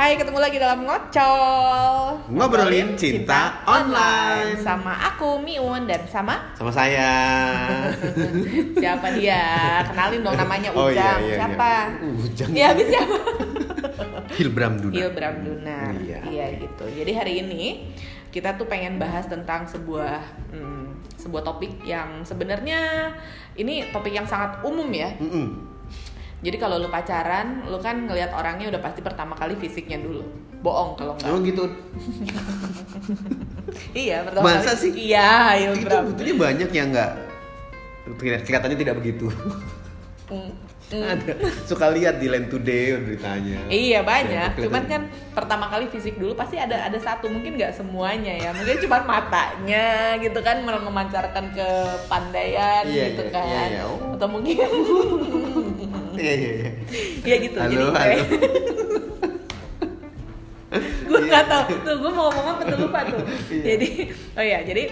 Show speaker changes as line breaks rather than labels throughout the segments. Hai, ketemu lagi dalam ngocol.
Ngobrolin cinta online.
Sama aku Miun dan sama
Sama saya.
siapa dia? Kenalin dong namanya Ujang.
Oh, iya, iya,
siapa?
iya. Ujang.
Ya, habis siapa?
Hilbram Duna.
Ilbram Duna.
Iya.
gitu. Jadi hari ini kita tuh pengen bahas tentang sebuah hmm, sebuah topik yang sebenarnya ini topik yang sangat umum ya.
Mm-mm.
Jadi kalau lu pacaran, lu kan ngelihat orangnya udah pasti pertama kali fisiknya dulu. Bohong kalau nggak.
Emang gitu.
Iya, pertama
Masa
kali.
sih?
Iya,
Itu
Ilbram.
butuhnya banyak yang nggak kelihat- kelihatannya tidak begitu.
Mm, mm.
Ada. Suka lihat di Land Today beritanya.
Iya
Yang
banyak,
kelihatan-
cuman kan pertama kali fisik dulu pasti ada ada satu mungkin nggak semuanya ya, mungkin cuman matanya gitu kan mem- memancarkan kepandaian
Iya,
gitu
iya,
kan,
iya, iya. Oh.
atau mungkin
Iya iya iya.
ya gitu.
Halo,
jadi
halo.
gue nggak tahu tuh gue mau ngomong apa tuh lupa tuh.
Iya.
Jadi oh ya jadi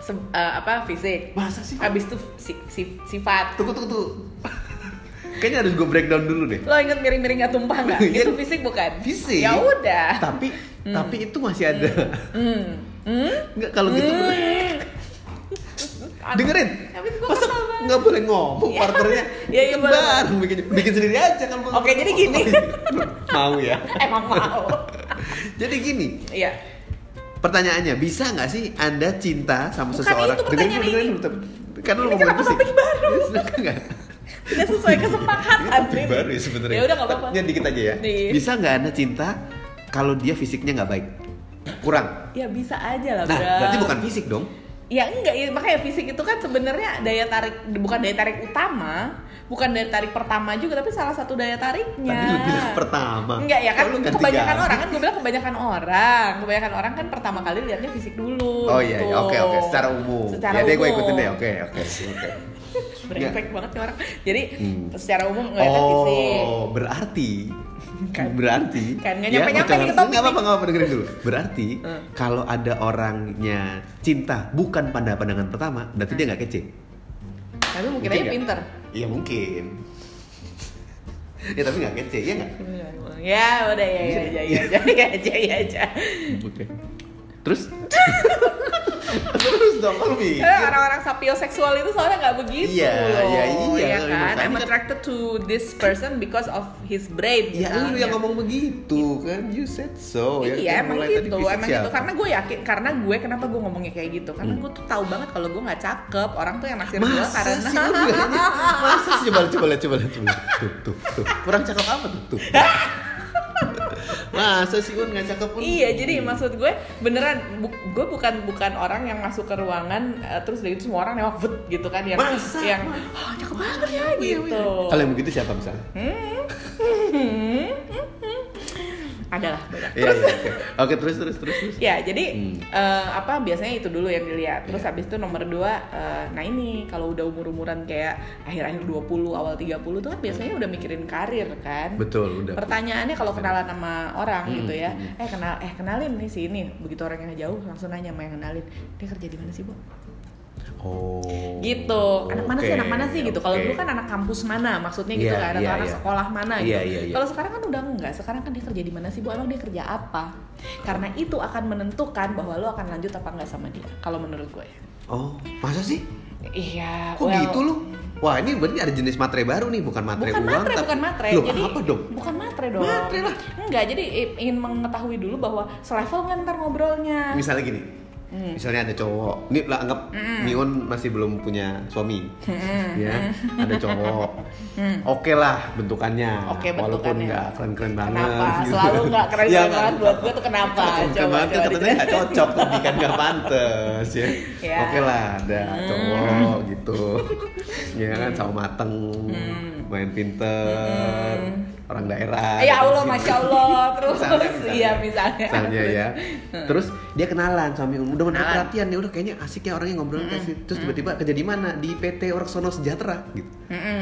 se- eh, apa fisik,
Masa sih?
habis itu si- si- sifat.
Tunggu tunggu tunggu. Kayaknya harus gue breakdown dulu deh.
Lo inget miring-miring nggak tumpah nggak?
Iya.
Itu fisik bukan?
Fisik.
Ya udah.
Tapi tapi itu masih ada.
Hmm. Hmm.
Nggak kalau gitu.
Hmm.
Dengerin.
Habis gua
Masa
kesel banget.
nggak boleh ngomong
Iya.
partnernya?
Iya, iya,
Kan
boleh,
baru bikin, bikin sendiri aja kan. Bang.
Oke, jadi gini.
Mau ya.
Emang mau.
Jadi gini,
Iya.
pertanyaannya bisa nggak sih Anda cinta sama
Bukan
seseorang?
itu pertanyaan ini.
Karena lu
Ini
ngomong
kenapa
fisik.
topik baru?
Sedangkan nggak?
Tidak sesuai kesepakatan.
Topik
Lin.
baru ya sebenarnya.
Ya udah nggak apa-apa.
Topiknya dikit aja ya.
Iya.
Bisa nggak Anda cinta kalau dia fisiknya nggak baik? Kurang.
Ya bisa aja lah,
Nah,
Bra.
berarti bukan fisik dong.
Ya enggak, ya, makanya fisik itu kan sebenarnya daya tarik bukan daya tarik utama, bukan daya tarik pertama juga tapi salah satu daya tariknya.
Tadi lu bilang pertama.
Enggak ya kan
Kok lu ganti
kebanyakan
ganti?
orang kan gue bilang kebanyakan orang. Kebanyakan orang kan pertama kali lihatnya fisik dulu.
Oh iya,
gitu.
iya. oke oke, secara umum.
Secara
ya deh gue
umum.
ikutin deh, oke oke oke.
Brengsek banget nih orang. Jadi
Hmm.
secara umum ngeliatnya fisik.
Oh, berarti
Kan.
berarti
Kan, nggak
Ya,
nyampe-nyampe
ngocok.
nih ke topik
Nggak apa-apa, nggak apa-apa, dengerin dulu Berarti
Hmm.
kalau ada orangnya cinta bukan pada pandangan pertama Berarti dia nggak kece
Tapi mungkin, aja
nggak?
pinter.
Iya mungkin Ya tapi nggak kece, iya nggak?
Ya udah ya ya ya ya ya ya ya, ya, ya.
Oke Terus? Terus dong, kalau
Eh,
mikir
Orang-orang sapioseksual itu soalnya nggak begitu
Iya,
loh.
iya, iya.
ya kan?
Makanya
I'm
kan-
attracted to this person because of his brain.
Ya lu
misalnya.
yang ngomong begitu kan, you said so ya,
iya
kan
emang
mulai tadi
gitu,
fisik
emang gitu.
siapa? Hmm.
Karena gue yakin, karena gue kenapa gue ngomongnya kayak gitu? Karena gue tuh tahu banget kalau gue nggak cakep, orang tuh yang naksir gue
Masa
karena
sih lu bilangnya? Masa sih coba lihat, coba lihat, coba lihat, coba lihat. Tuh, tuh, tuh. Kurang cakep apa tuh? tuh. Masa sih Un Hmm. nggak cakep pun?
Iya, jadi maksud gue beneran bu- gue bukan bukan orang yang masuk ke ruangan eh, terus dari itu semua orang nengok "Vut," gitu kan yang
Masa? Iya,
yang "Wah, cakep banget ya gitu.
Kalau yang begitu siapa misalnya?
Hmm, hmm, hmm. Adalah banyak.
Iya, iya, oke. Oke, terus, terus, terus, terus.
Ya, jadi
Hmm. Ya.
eh, apa biasanya itu dulu yang dilihat. Terus habis itu nomor dua, eh, nah ini kalau udah umur-umuran kayak akhir-akhir 20, awal 30 tuh kan biasanya udah mikirin karir kan.
Betul, udah.
Pertanyaannya kalau kenalan sama orang
Hmm,
gitu ya,
hmm.
eh kenal eh kenalin nih si ini. Begitu orang yang jauh langsung nanya sama yang kenalin, dia kerja di mana sih, Bu?
Oh.
Gitu. Anak mana sih
oke,
anak mana sih gitu. Kalau
oke.
dulu kan anak kampus mana maksudnya gitu
Iya,
kan atau
iya,
anak
iya.
sekolah mana
Iya,
gitu.
iya, iya.
Kalau sekarang kan udah enggak. Sekarang kan dia kerja di mana sih, Bu? Emang dia kerja apa? Karena itu akan menentukan bahwa lo akan lanjut apa enggak sama dia. Kalau menurut gue.
Oh, masa sih?
Iya,
Kok
well,
gitu lu? Wah, ini berarti ada jenis materai baru nih, bukan materai
bukan
uang.
matre,
tapi-
bukan matre.
Loh,
jadi
apa dong?
Bukan matre dong.
Matre lah.
Enggak, jadi i- ingin mengetahui dulu bahwa selevel nggak ntar ngobrolnya.
misalnya gini
Hmm.
misalnya ada cowok ini lah anggap Miun masih belum punya suami
Hmm.
ya ada cowok oke lah bentukannya
Oke,
walaupun
bentukannya.
nggak keren keren banget
Kenapa?
gitu.
Selalu nggak keren
Ya,
banget
nggak-
buat gue tuh kenapa? Coba,
Bukan banget
coba
katanya nggak cocok tadi kan nggak pantes ya.
Ya.
Oke lah ada cowok gitu, ya kan sama mateng, main pinter, orang daerah.
Hmm. Ya Allah,
gitu.
masya Allah, terus
Misalnya, misalnya.
iya misalnya.
Misalnya ya. Terus dia kenalan suami udah menarik
Kenalan.
perhatian nih udah kayaknya asik ya orangnya ngobrol kayak sih. Terus tiba-tiba kerja di mana? Di PT Orsono Sejahtera gitu.
Mm-mm.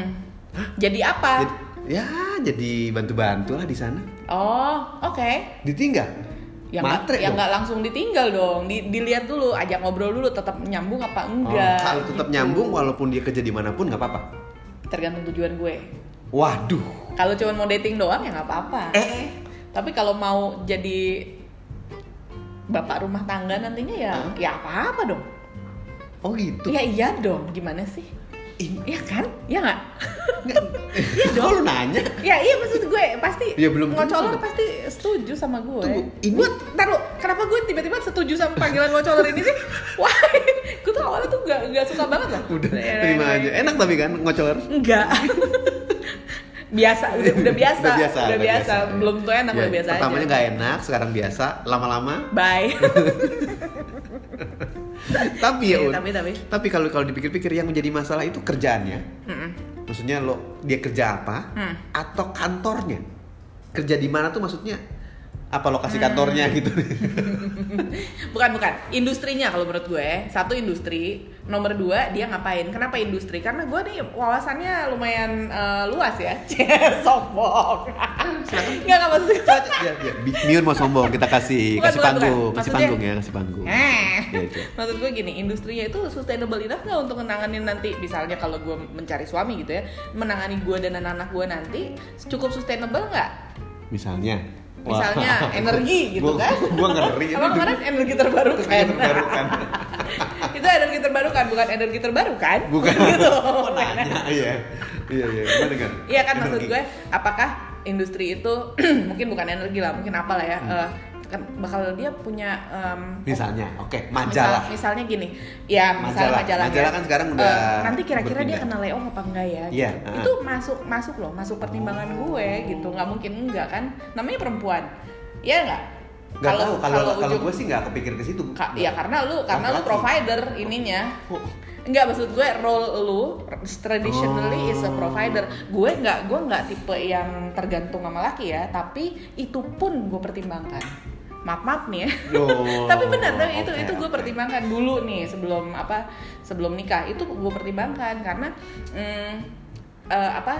Jadi apa?
Jadi- ya jadi bantu-bantu lah di sana.
Oh, oke.
Ditinggal.
Yang
Matre
Ya, nggak yang
dong.
nggak langsung ditinggal dong, Di- dilihat dulu, ajak ngobrol dulu, tetap nyambung apa
Oh,
enggak?
kalau tetap
gitu.
nyambung walaupun dia kerja dimanapun nggak apa-apa.
Tergantung tujuan gue.
Waduh.
Kalau cuma mau dating doang ya nggak apa-apa.
Eh,
tapi kalau mau jadi bapak rumah tangga nantinya ya
Hah?
ya apa apa dong
oh gitu
ya iya dong gimana sih
Ih,
ya kan ya nggak
kok lu nanya
ya iya maksud gue pasti
Ya, belum tentu.
ngocolor pasti setuju sama gue
Tunggu, ini-
Gue- ntar lu, kenapa gue tiba-tiba setuju sama panggilan ngocolor ini sih wah gue tuh awalnya tuh gak, gak suka banget Eh, lah
udah terima
ya.
aja enak tapi kan ngocolor
enggak biasa udah, udah biasa
Udah biasa,
udah
udah
biasa.
biasa.
belum tuh enak
Ya,
udah biasa
pertamanya
aja
nggak enak sekarang biasa lama-lama
bye
tapi
Iya,
ya Un,
tapi tapi
tapi kalau kalau dipikir-pikir yang menjadi masalah itu kerjaannya
Mm-mm.
maksudnya lo dia kerja apa
Hmm.
atau kantornya kerja di mana tuh maksudnya apa lokasi kantornya
Hmm.
gitu
bukan bukan industrinya kalau menurut gue satu industri nomor dua dia ngapain kenapa industri karena gue nih wawasannya lumayan eh, luas ya Cie, sombong nggak nggak maksud gue
ya, ya. Bi- Miun mau sombong kita kasih
Bukan,
kasih
bukan,
panggung
bukan.
kasih
Maksudnya-
panggung ya kasih panggung
Eh.
Ya, itu.
maksud gue gini industrinya itu sustainable enough nggak untuk menanganin nanti misalnya kalau gue mencari suami gitu ya menangani gue dan anak-anak gue nanti cukup sustainable nggak
misalnya
Misalnya, energi gitu
Gua-
kan.
gua ngeri
apa kemarin energi terbarukan
Iya, Terbarukan.
itu energi terbarukan bukan energi terbarukan
bukan
gitu
Kok nanya iya iya iya gimana kan
Iya kan maksud gue, apakah industri itu mungkin bukan energi lah, mungkin apa lah ya?
Hmm.
eh, kan bakal dia punya em,
misalnya oke
misal-
majalah
misalnya gini, ya
Majalah.
misalnya majalah.
Majalah kan sekarang udah
Eh, nanti kira-kira dia
berpindah.
kena layoff apa enggak ya?
Iya, Oh.
gitu.
ah.
Itu masuk masuk loh, masuk pertimbangan gue gitu, nggak mungkin enggak kan? Namanya perempuan, ya enggak?
nggak tahu kalau kalau
ujung-
gue sih nggak kepikir ke situ
Ka- ya karena lu karena lu
Laki-laki.
provider ininya
Oh.
nggak maksud gue role lu traditionally is a provider gue nggak gue nggak tipe yang tergantung sama laki ya tapi itu pun gue pertimbangkan maaf maaf nih ya
Loh,
tapi benar tapi itu
Oh, oke,
itu gue
oke.
pertimbangkan dulu nih sebelum apa sebelum nikah itu gue pertimbangkan karena mm, eh, apa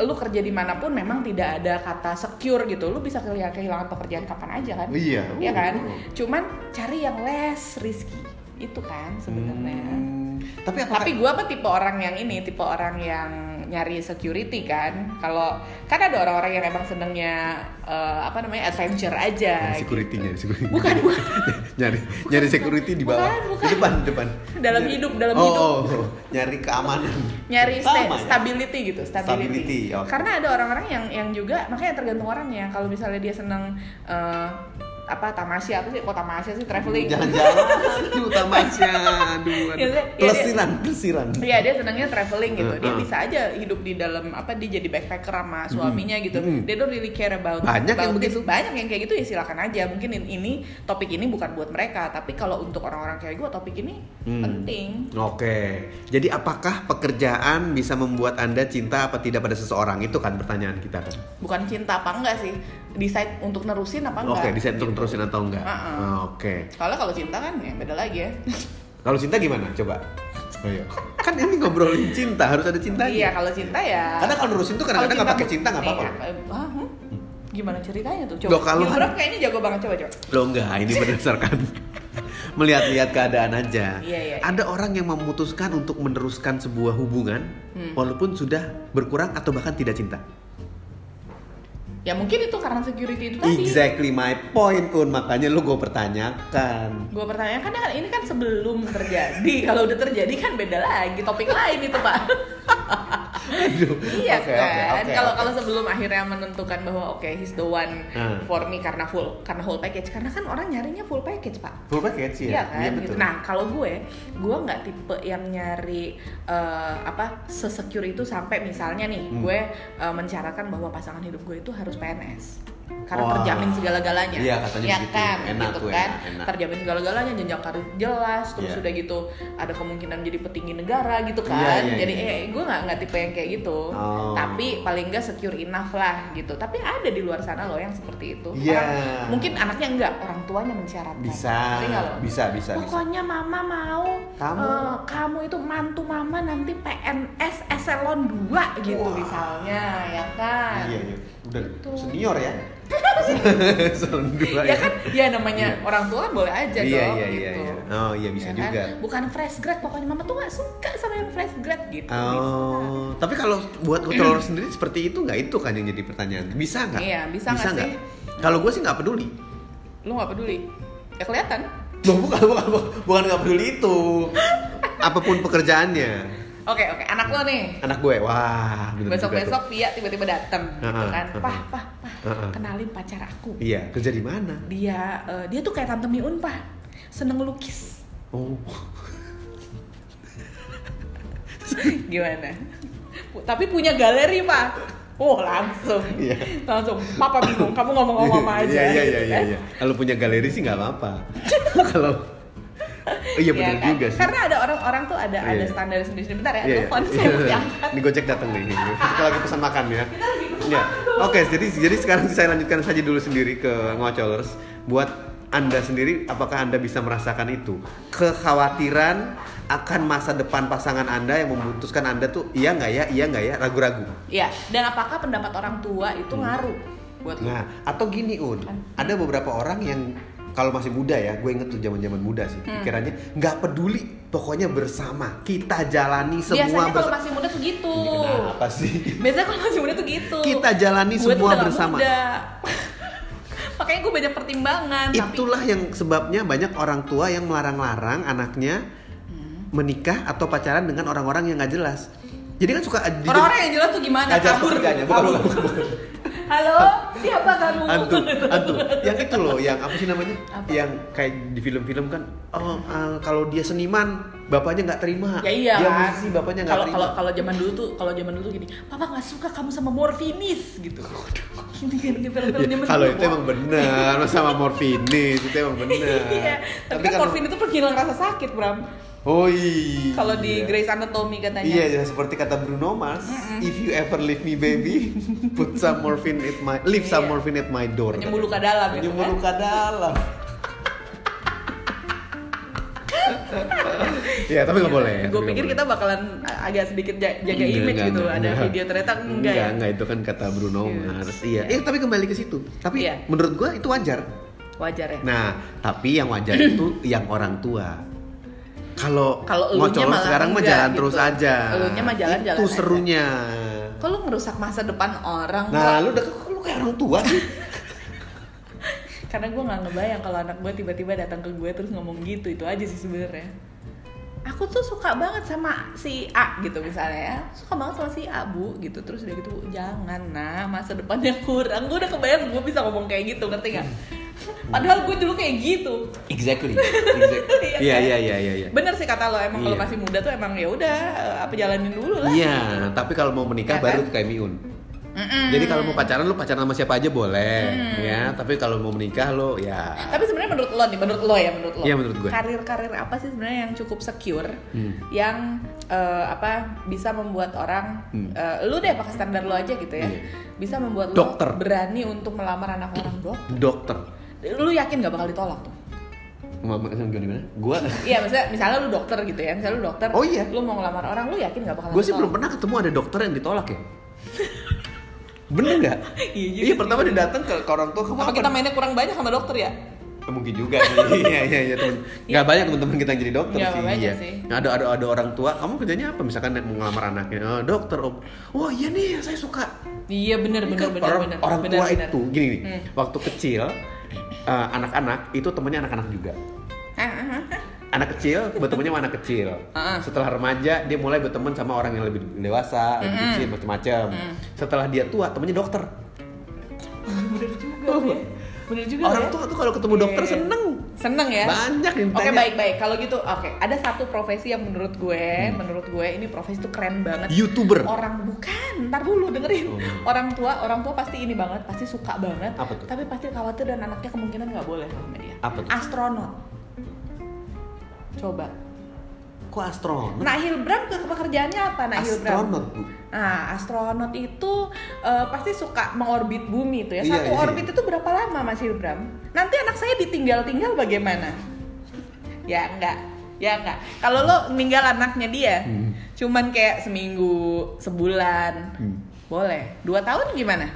lu kerja dimanapun memang tidak ada kata secure gitu lu bisa kehilangan kehilangan pekerjaan kapan aja kan
Iya.
Iya kan?
Oh.
Cuman cari yang less risky. Itu kan sebenarnya.
Hmm, tapi apakah
Tapi gua apa tipe orang yang ini, tipe orang yang nyari security kan. Kalau kan ada orang-orang yang emang senengnya eh, apa namanya? adventure aja.
Nyari security nyari security
gitu. Bukan, bukan.
nyari nyari security di bawah
Bukan, bukan.
di depan di depan
Dalam
Nyari-
hidup, dalam
oh,
hidup.
oh, oh. nyari keamanan
nyari sta-
Sama ya?
stability gitu
Stability,
stability,
oke.
karena ada orang-orang yang yang juga makanya tergantung orangnya kalau misalnya dia seneng eh, apa tamasya apa sih kok tamasya sih traveling
Iya. jalan-jalan aduh tamasya aduh,
Iya,
aduh.
iya, iya.
pelesiran pelesiran
Iya dia senangnya traveling gitu. Dia
Heeh.
bisa aja hidup di dalam apa dia jadi backpacker sama suaminya gitu.
Mm.
Dia don't really care about
Banyak yang
about
begitu.
this. Banyak yang kayak gitu ya silakan aja. Mungkin in- ini topik ini bukan buat mereka, tapi kalau untuk orang-orang kayak gue topik ini
Hmm.
penting.
oke jadi apakah pekerjaan bisa membuat anda cinta apa tidak pada seseorang itu kan pertanyaan kita kan
Bukan cinta apa enggak sih? Decide untuk nerusin apa Oh, enggak? Uh-uh.
oke bisa untuk terusin atau enggak
Heeh.
oke
Soalnya kalau cinta kan ya beda lagi ya.
kalau cinta gimana coba ayo kan ini ngobrolin cinta harus ada cintanya
Iya kalau cinta ya.
Karena kalau nerusin tuh kadang-kadang
Kalau
nggak pakai cinta nggak apa-apa.
Iya, eh, hah, hmm? Gimana ceritanya tuh?
Loh, kalau-
Gilbert kayaknya jago banget coba coba.
Lo enggak, ini berdasarkan melihat-lihat keadaan aja.
Iya, iya, iya.
Ada orang yang memutuskan untuk meneruskan sebuah hubungan
Hmm.
walaupun sudah berkurang atau bahkan tidak cinta.
Ya mungkin itu karena security itu tadi.
Exactly my point, Un. Makanya lu gue pertanyakan.
Gue pertanyaan kan ini kan sebelum terjadi. Kalau udah terjadi kan beda lagi, topik lain itu pak.
Aduh.
iya
Oke,
kan.
oke, oke,
kalau
oke.
kalau sebelum akhirnya menentukan bahwa oke he's the one
Hmm.
for me karena full karena whole package. Karena kan orang nyarinya full package pak.
full package
Iya
ya.
kan. gitu.
betul.
Nah kalau gue, gue nggak tipe yang nyari eh, apa sesecure itu sampai misalnya nih
Hmm.
gue eh, mencaratkan bahwa pasangan hidup gue itu harus PNS karena
Wah.
terjamin segala-galanya.
Iya, katanya
Ya
begitu.
kan,
Enak
gitu
tuh,
kan.
enak, enak.
Terjamin segala-galanya, jenjang karir jelas, terus
Iya.
sudah gitu ada kemungkinan jadi petinggi negara gitu kan.
Iya, iya,
jadi
iya.
eh gue nggak nggak tipe yang kayak gitu.
Oh.
Tapi paling nggak secure enough lah gitu. Tapi ada di luar sana loh yang seperti itu.
Iya.
Orang- mungkin anaknya enggak, orang tuanya mensyaratkan.
bisa,
Ngerti nggak lo?
bisa, bisa, bisa.
Pokoknya mama mau
Kamu.
eh, kamu itu mantu mama nanti PNS eselon 2 gitu
Wah.
misalnya ya kan.
Iya, iya. Udah
Gitu.
senior ya. Soal dua
Ya kan ya namanya
Iya.
orang tua boleh aja
Iya,
dong
iya,
gitu.
iya, iya. Oh, iya bisa
Ya kan?
juga.
Bukan fresh grad pokoknya mama tuh gak suka sama yang fresh grad gitu. bisa.
Oh, tapi kalau buat controller sendiri seperti itu nggak itu kan yang jadi pertanyaan. Bisa nggak?
Iya, bisa nggak sih?
Kalau gue sih nggak peduli.
Lu nggak peduli? Ya kelihatan.
Loh, bukan bukan bukan- bukan nggak peduli itu. Apapun pekerjaannya.
Oke oke, anak lo nih.
Anak gue, wah. bener
Besok
juga tuh.
besok Via tiba-tiba datang, gitu
Heeh,
kan?
heeh.
Pah pah pah,
Heeh.
kenalin pacar aku.
Iya, kerja di mana?
Dia eh, dia tuh kayak tante Miun pah, seneng lukis.
Oh,
Gimana? Pu- Tapi punya galeri pah. Oh langsung,
Iya.
langsung. Papa bingung, kamu ngomong-ngomong apa aja.
Iya iya
gitu
iya iya.
kan.
iya. Kalau punya galeri sih nggak apa-apa. Kalau Oh, iya benar
kan?
juga sih.
Karena ada orang-orang tuh ada ada
Iya.
standar sendiri. Bentar ya,
Iya, iya.
telepon saya mesti
Iya.
angkat.
Ini Gojek datang nih. Kita lagi pesan makan ya. Ya. Oke, jadi jadi sekarang saya lanjutkan saja dulu sendiri ke ngocolers. Buat Anda sendiri apakah Anda bisa merasakan itu? Kekhawatiran akan masa depan pasangan Anda yang memutuskan Anda tuh iya nggak ya, iya nggak ya, ragu-ragu.
Iya, dan apakah pendapat orang tua itu
Hmm.
ngaruh buat lu?
Nah, atau gini Un, ada beberapa orang yang kalau masih muda ya, gue inget tuh zaman-zaman muda sih, pikirannya nggak peduli, pokoknya bersama kita jalani semua
Biasanya kalau
bersama.
masih muda tuh gitu.
Kenapa sih?
Biasanya kalau masih muda tuh gitu.
Kita jalani
Gua tuh
semua
udah gak
bersama.
muda. Makanya gue banyak pertimbangan, tapi
Itulah yang sebabnya banyak orang tua yang melarang-larang anaknya
Hmm.
menikah atau pacaran dengan orang-orang yang nggak jelas. Jadi kan suka di-
orang-orang yang jelas tuh gimana?
nggak jelas
Kabur.
pekerjaannya, bukan,
Kabur.
bukan, bukan, bukan.
Halo, siapa kamu?
Hantu, hantu. Yang itu loh, yang apa sih namanya?
Apa?
Yang kayak di film-film kan, oh eh, kalau dia seniman, bapaknya nggak terima.
Ya iya
Dia
kan.
musisi, bapaknya nggak
Kalau
terima.
kalau kalau zaman dulu tuh, kalau zaman dulu tuh gini, papa nggak suka kamu sama morfinis gitu. Gini kan di film-film
Ya,
zaman
kalau
dulu.
itu emang benar, Mas, sama morfinis itu emang benar.
Iya, tapi kan morfin itu penghilang rasa sakit, Bram.
Oh iya.
Kalau di Grey's Anatomy katanya.
Iya, ya, seperti kata Bruno Mars, if you ever leave me baby, put some morphine at my leave
Iya.
some morphine at my door.
Menyembur luka dalam gitu kan?
Menyembur luka dalam. ya, tapi nggak boleh.
Gue pikir kita bakalan a- agak sedikit ja- jaga
Iya,
image gitu. Ada video ternyata enggak,
enggak,
ya.
enggak itu kan kata Bruno
Iya.
Mars. Iya. Eh, tapi kembali ke situ. Tapi
Iya.
menurut gua itu wajar.
Wajar ya.
Nah, tapi yang wajar itu yang orang tua. Kalau
Kalau elunya
ngocol
malah
sekarang mah
enggak
jalan
gitu.
terus aja.
Elunya mah jalan-jalan
Itu
aja.
serunya.
Kok lu ngerusak masa depan orang? Bram?
Nah, lu udah kok lu kayak orang tua kan? sih.
Karena gue nggak ngebayang kalau anak gue tiba-tiba datang ke gue terus ngomong gitu itu aja sih sebenarnya. Aku tuh suka banget sama si A gitu misalnya ya. Suka banget sama si A bu gitu terus udah gitu "Bu, jangan nah masa depannya kurang. Gue udah kebayang gue bisa ngomong kayak gitu ngerti nggak?
Hmm.
Padahal gue dulu kayak gitu.
Exactly. Exactly. Iya, iya, iya, iya, iya.
Bener sih kata lo emang kalau
Iya.
masih muda tuh emang ya udah eh, apa jalanin dulu lah.
Iya, tapi kalau mau
Ya kan?
menikah
Hmm.
baru kayak Miun. Jadi kalau mau pacaran lu pacaran sama siapa aja boleh, ya. Tapi kalau mau menikah lu ya
Tapi sebenarnya menurut lo nih, menurut lo ya, menurut lo.
Iya, menurut gue.
Karir-karir apa sih sebenarnya yang cukup secure,
Hmm.
yang eh, apa bisa membuat orang,
Hmm.
eh, lu deh pakai standar lo aja gitu ya,
Iya.
bisa membuat lo
Dokter.
berani untuk melamar anak orang dok.
dokter.
Lu yakin gak bakal ditolak tuh?
Mama gimana gimana? Gua
Iya, misalnya, misalnya lu dokter gitu ya, misalnya lu dokter,
Oh, iya.
lu mau ngelamar orang, lu yakin gak bakal
Gue sih belum
ditolak?
pernah ketemu ada dokter yang ditolak ya. Bener nggak?
Iya juga
Iya pertama dia datang ke, ke orang tua
Apa
kenapa?
kita mainnya kurang banyak sama dokter ya?
Mungkin juga sih. Iya iya iya temen. Gak banyak teman-teman kita yang jadi dokter
Nggak
sih.
banyak
Iya.
sih.
Nah, ada ada ada orang tua. Kamu kerjanya apa? Misalkan mau ngelamar anaknya. "Eh, dokter om. Wah iya nih saya suka.
Iya bener bener
Kan
bener
orang,
bener.
orang
bener,
tua
bener.
itu gini nih.
Hmm.
Waktu kecil eh, anak-anak itu temennya anak-anak juga. anak kecil bertemannya sama anak kecil.
Ah.
Setelah remaja dia mulai berteman sama orang yang lebih dewasa, lebih
Hmm.
kecil macam-macam. Setelah dia tua temennya dokter.
Bener juga ya. Bener juga ya.
Orang tua tuh kalau ketemu dokter
Iya.
seneng.
Seneng ya?
Banyak yang
Oke
ditanya.
baik baik. Kalau gitu oke. Ada satu profesi yang menurut gue, menurut gue ini profesi tuh keren banget.
Hmm. Youtuber.
Orang bukan, ntar dulu dengerin.
Oh.
Orang tua, orang tua pasti ini banget, pasti suka banget.
Apa tuh?
Tapi pasti khawatir dan anaknya kemungkinan nggak boleh sama dia.
Apa tuh?
Astronot. Coba.
Kok astronot?
Nah Hilbram ke pekerjaannya apa? Nah Hilbram.
astronot bu.
Nah, astronot itu eh, pasti suka mengorbit bumi itu ya.
Iya,
Satu
iya,
orbit itu berapa lama Mas Hilbram? Nanti anak saya ditinggal-tinggal bagaimana? Ya enggak. Ya enggak. Kalau lo ninggal anaknya dia,
Hmm.
cuman kayak seminggu, sebulan,
Hmm.
boleh. Dua tahun gimana?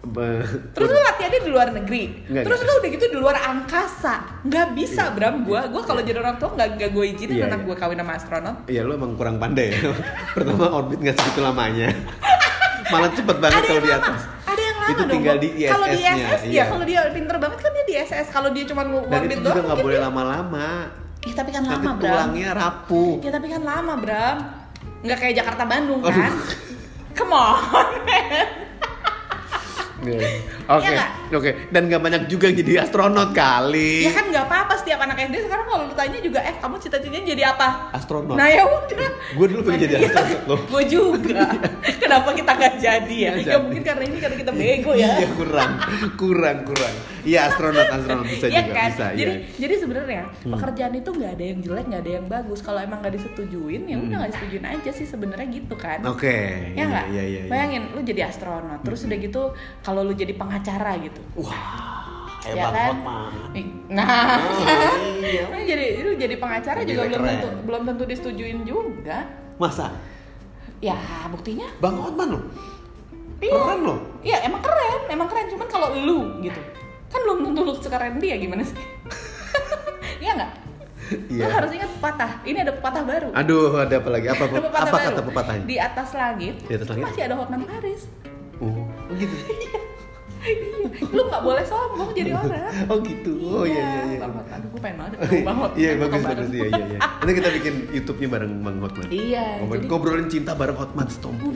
Be-
Terus lu latihannya di luar negeri.
Iya. Enggak,
Terus
enggak.
lu udah gitu di luar angkasa. Nggak bisa, Bram. Gua gua kalau jadi orang tua nggak nggak gue izinin
Iya,
anak
iya.
gue kawin sama astronot.
Iya lu emang kurang ya. pandai ya. Pertama orbit nggak segitu lamanya. Malah cepet banget
ada
kalau
yang
di
lama,
atas.
ada yang lama
Itu
dong.
tinggal
Bob.
di
Kalau di
ISS-nya,
ISS
iya.
ya, kalau dia pinter banget kan dia di ISS. Kalau dia cuma
Dan
one
itu
bit
juga
doang,
nggak
mungkin
boleh
dia-
lama-lama.
Ih, tapi kan
Nanti
lama, Bram.
tulangnya rapuh.
Ya tapi kan lama, Bram. Nggak kayak Jakarta Bandung
Aduh.
kan? Come on.
Iya.
Iya
Oke,
nggak?
oke. Dan nggak banyak juga yang jadi astronot kali.
Ya kan nggak apa-apa setiap anak SD sekarang kalau lu tanya juga, eh kamu cita-citanya jadi apa?
Astronot.
Nah iya. ya udah.
Gue dulu pengen jadi astronot loh.
Gue juga. Kenapa kita nggak jadi ya? Ya
Nggak jadi.
mungkin karena ini karena kita bego ya.
Iya kurang, kurang, kurang. Iya astronot, astronot bisa
Iya
juga
kan?
bisa.
jadi
iya.
jadi sebenarnya pekerjaan itu nggak ada yang jelek, nggak ada yang bagus. Kalau emang nggak disetujuin, ya udah nggak disetujuin aja sih sebenarnya gitu kan.
Hmm. Oke.
Ya nggak?
Iya, iya, Hmm. iya.
Bayangin, lu jadi astronot, terus udah gitu kalau lu jadi pengacara gitu.
Wah,
ya
hebat
kan?
Hotman.
Ih, Nah,
Ah, Oh, iya.
Nah, jadi lu jadi pengacara
Jadi
juga belum
keren.
tentu belum tentu disetujuin juga.
Masa?
Ya, buktinya
Bang Hotman loh.
Iya.
Keren loh.
Iya, emang keren, emang keren. Cuman kalau lu gitu, kan belum tentu lu sekeren dia gimana sih? Iya nggak?
Iya.
Lu harus ingat pepatah. Ini ada pepatah baru.
Aduh, ada apa lagi? Apa,
Ada pepatah
apa
baru.
kata pepatahnya?
Di atas langit.
Di atas langit?
Masih ada Hotman Paris. Iya,
Oh, gitu.
lu nggak boleh sombong jadi orang.
Oh gitu. Oh iya iya iya.
Bang Hot. Aduh, gue pengen banget ketemu Bang Hot.
Iya
Kan
bagus
foto
bagus
bareng.
iya iya iya. Nanti kita bikin YouTube-nya bareng Bang Hotman.
Iya,
Ngobrolin,
jadi-
ngobrolin cinta bareng Hotman Stompu.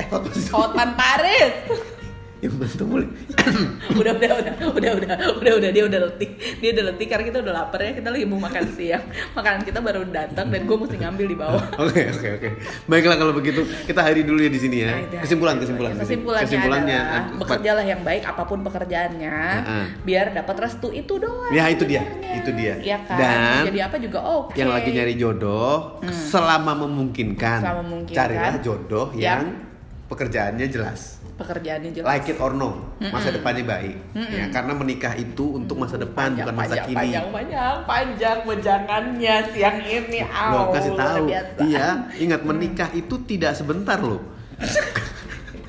Eh Hotman Stompu.
Hotman Paris.
Ya Hotman Stompu.
udah udah udah udah udah udah udah dia udah letih dia udah letih karena kita udah lapar ya kita lagi mau makan siang makanan kita baru datang dan gue mesti ngambil di bawah
Oh, Oke oke oke. Baiklah kalau begitu kita hari dulu ya di sini ya.
Yaudah.
Kesimpulan kesimpulan.
kesimpulannya,
Kesimpulannya.
adalah,
ah,
bekerjalah yang baik apapun pekerjaannya
Heeh.
biar dapat restu itu doang
Ya, itu dia.
sebenarnya.
Itu dia.
Iya kan
Dan-
Mau jadi apa juga oke Hmm.
yang lagi nyari jodoh selama memungkinkan,
Selama memungkinkan.
carilah jodoh
Yang-
yang pekerjaannya jelas.
pekerjaannya jelas
like it or no, masa depannya baik. Ya, karena menikah itu untuk masa depan bukan masa
panjang,
kini.
panjang panjang panjang wejangannya siang ini
Loh,
Au,
kasih
Ya, luar
tahu.
biasa. Mm.
Iya, ingat menikah itu tidak sebentar loh.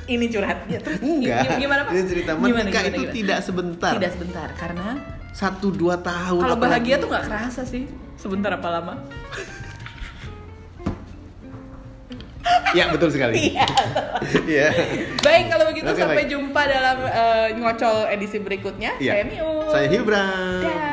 ini curhat ya, terus
Enggak.
gimana pak
Ini cerita
Gimana,
menikah
gimana,
itu
gimana?
tidak sebentar.
tidak sebentar karena
Satu dua tahun.
Kalau
apalagi-
bahagia tuh nggak kerasa sih, sebentar apa lama?
Ya betul sekali.
Iya.
Iya.
Baik kalau begitu
Oke,
sampai
baik.
jumpa dalam eh, ngocol edisi berikutnya. Saya
Iya.
Miu.
Saya Hibra.
Dah.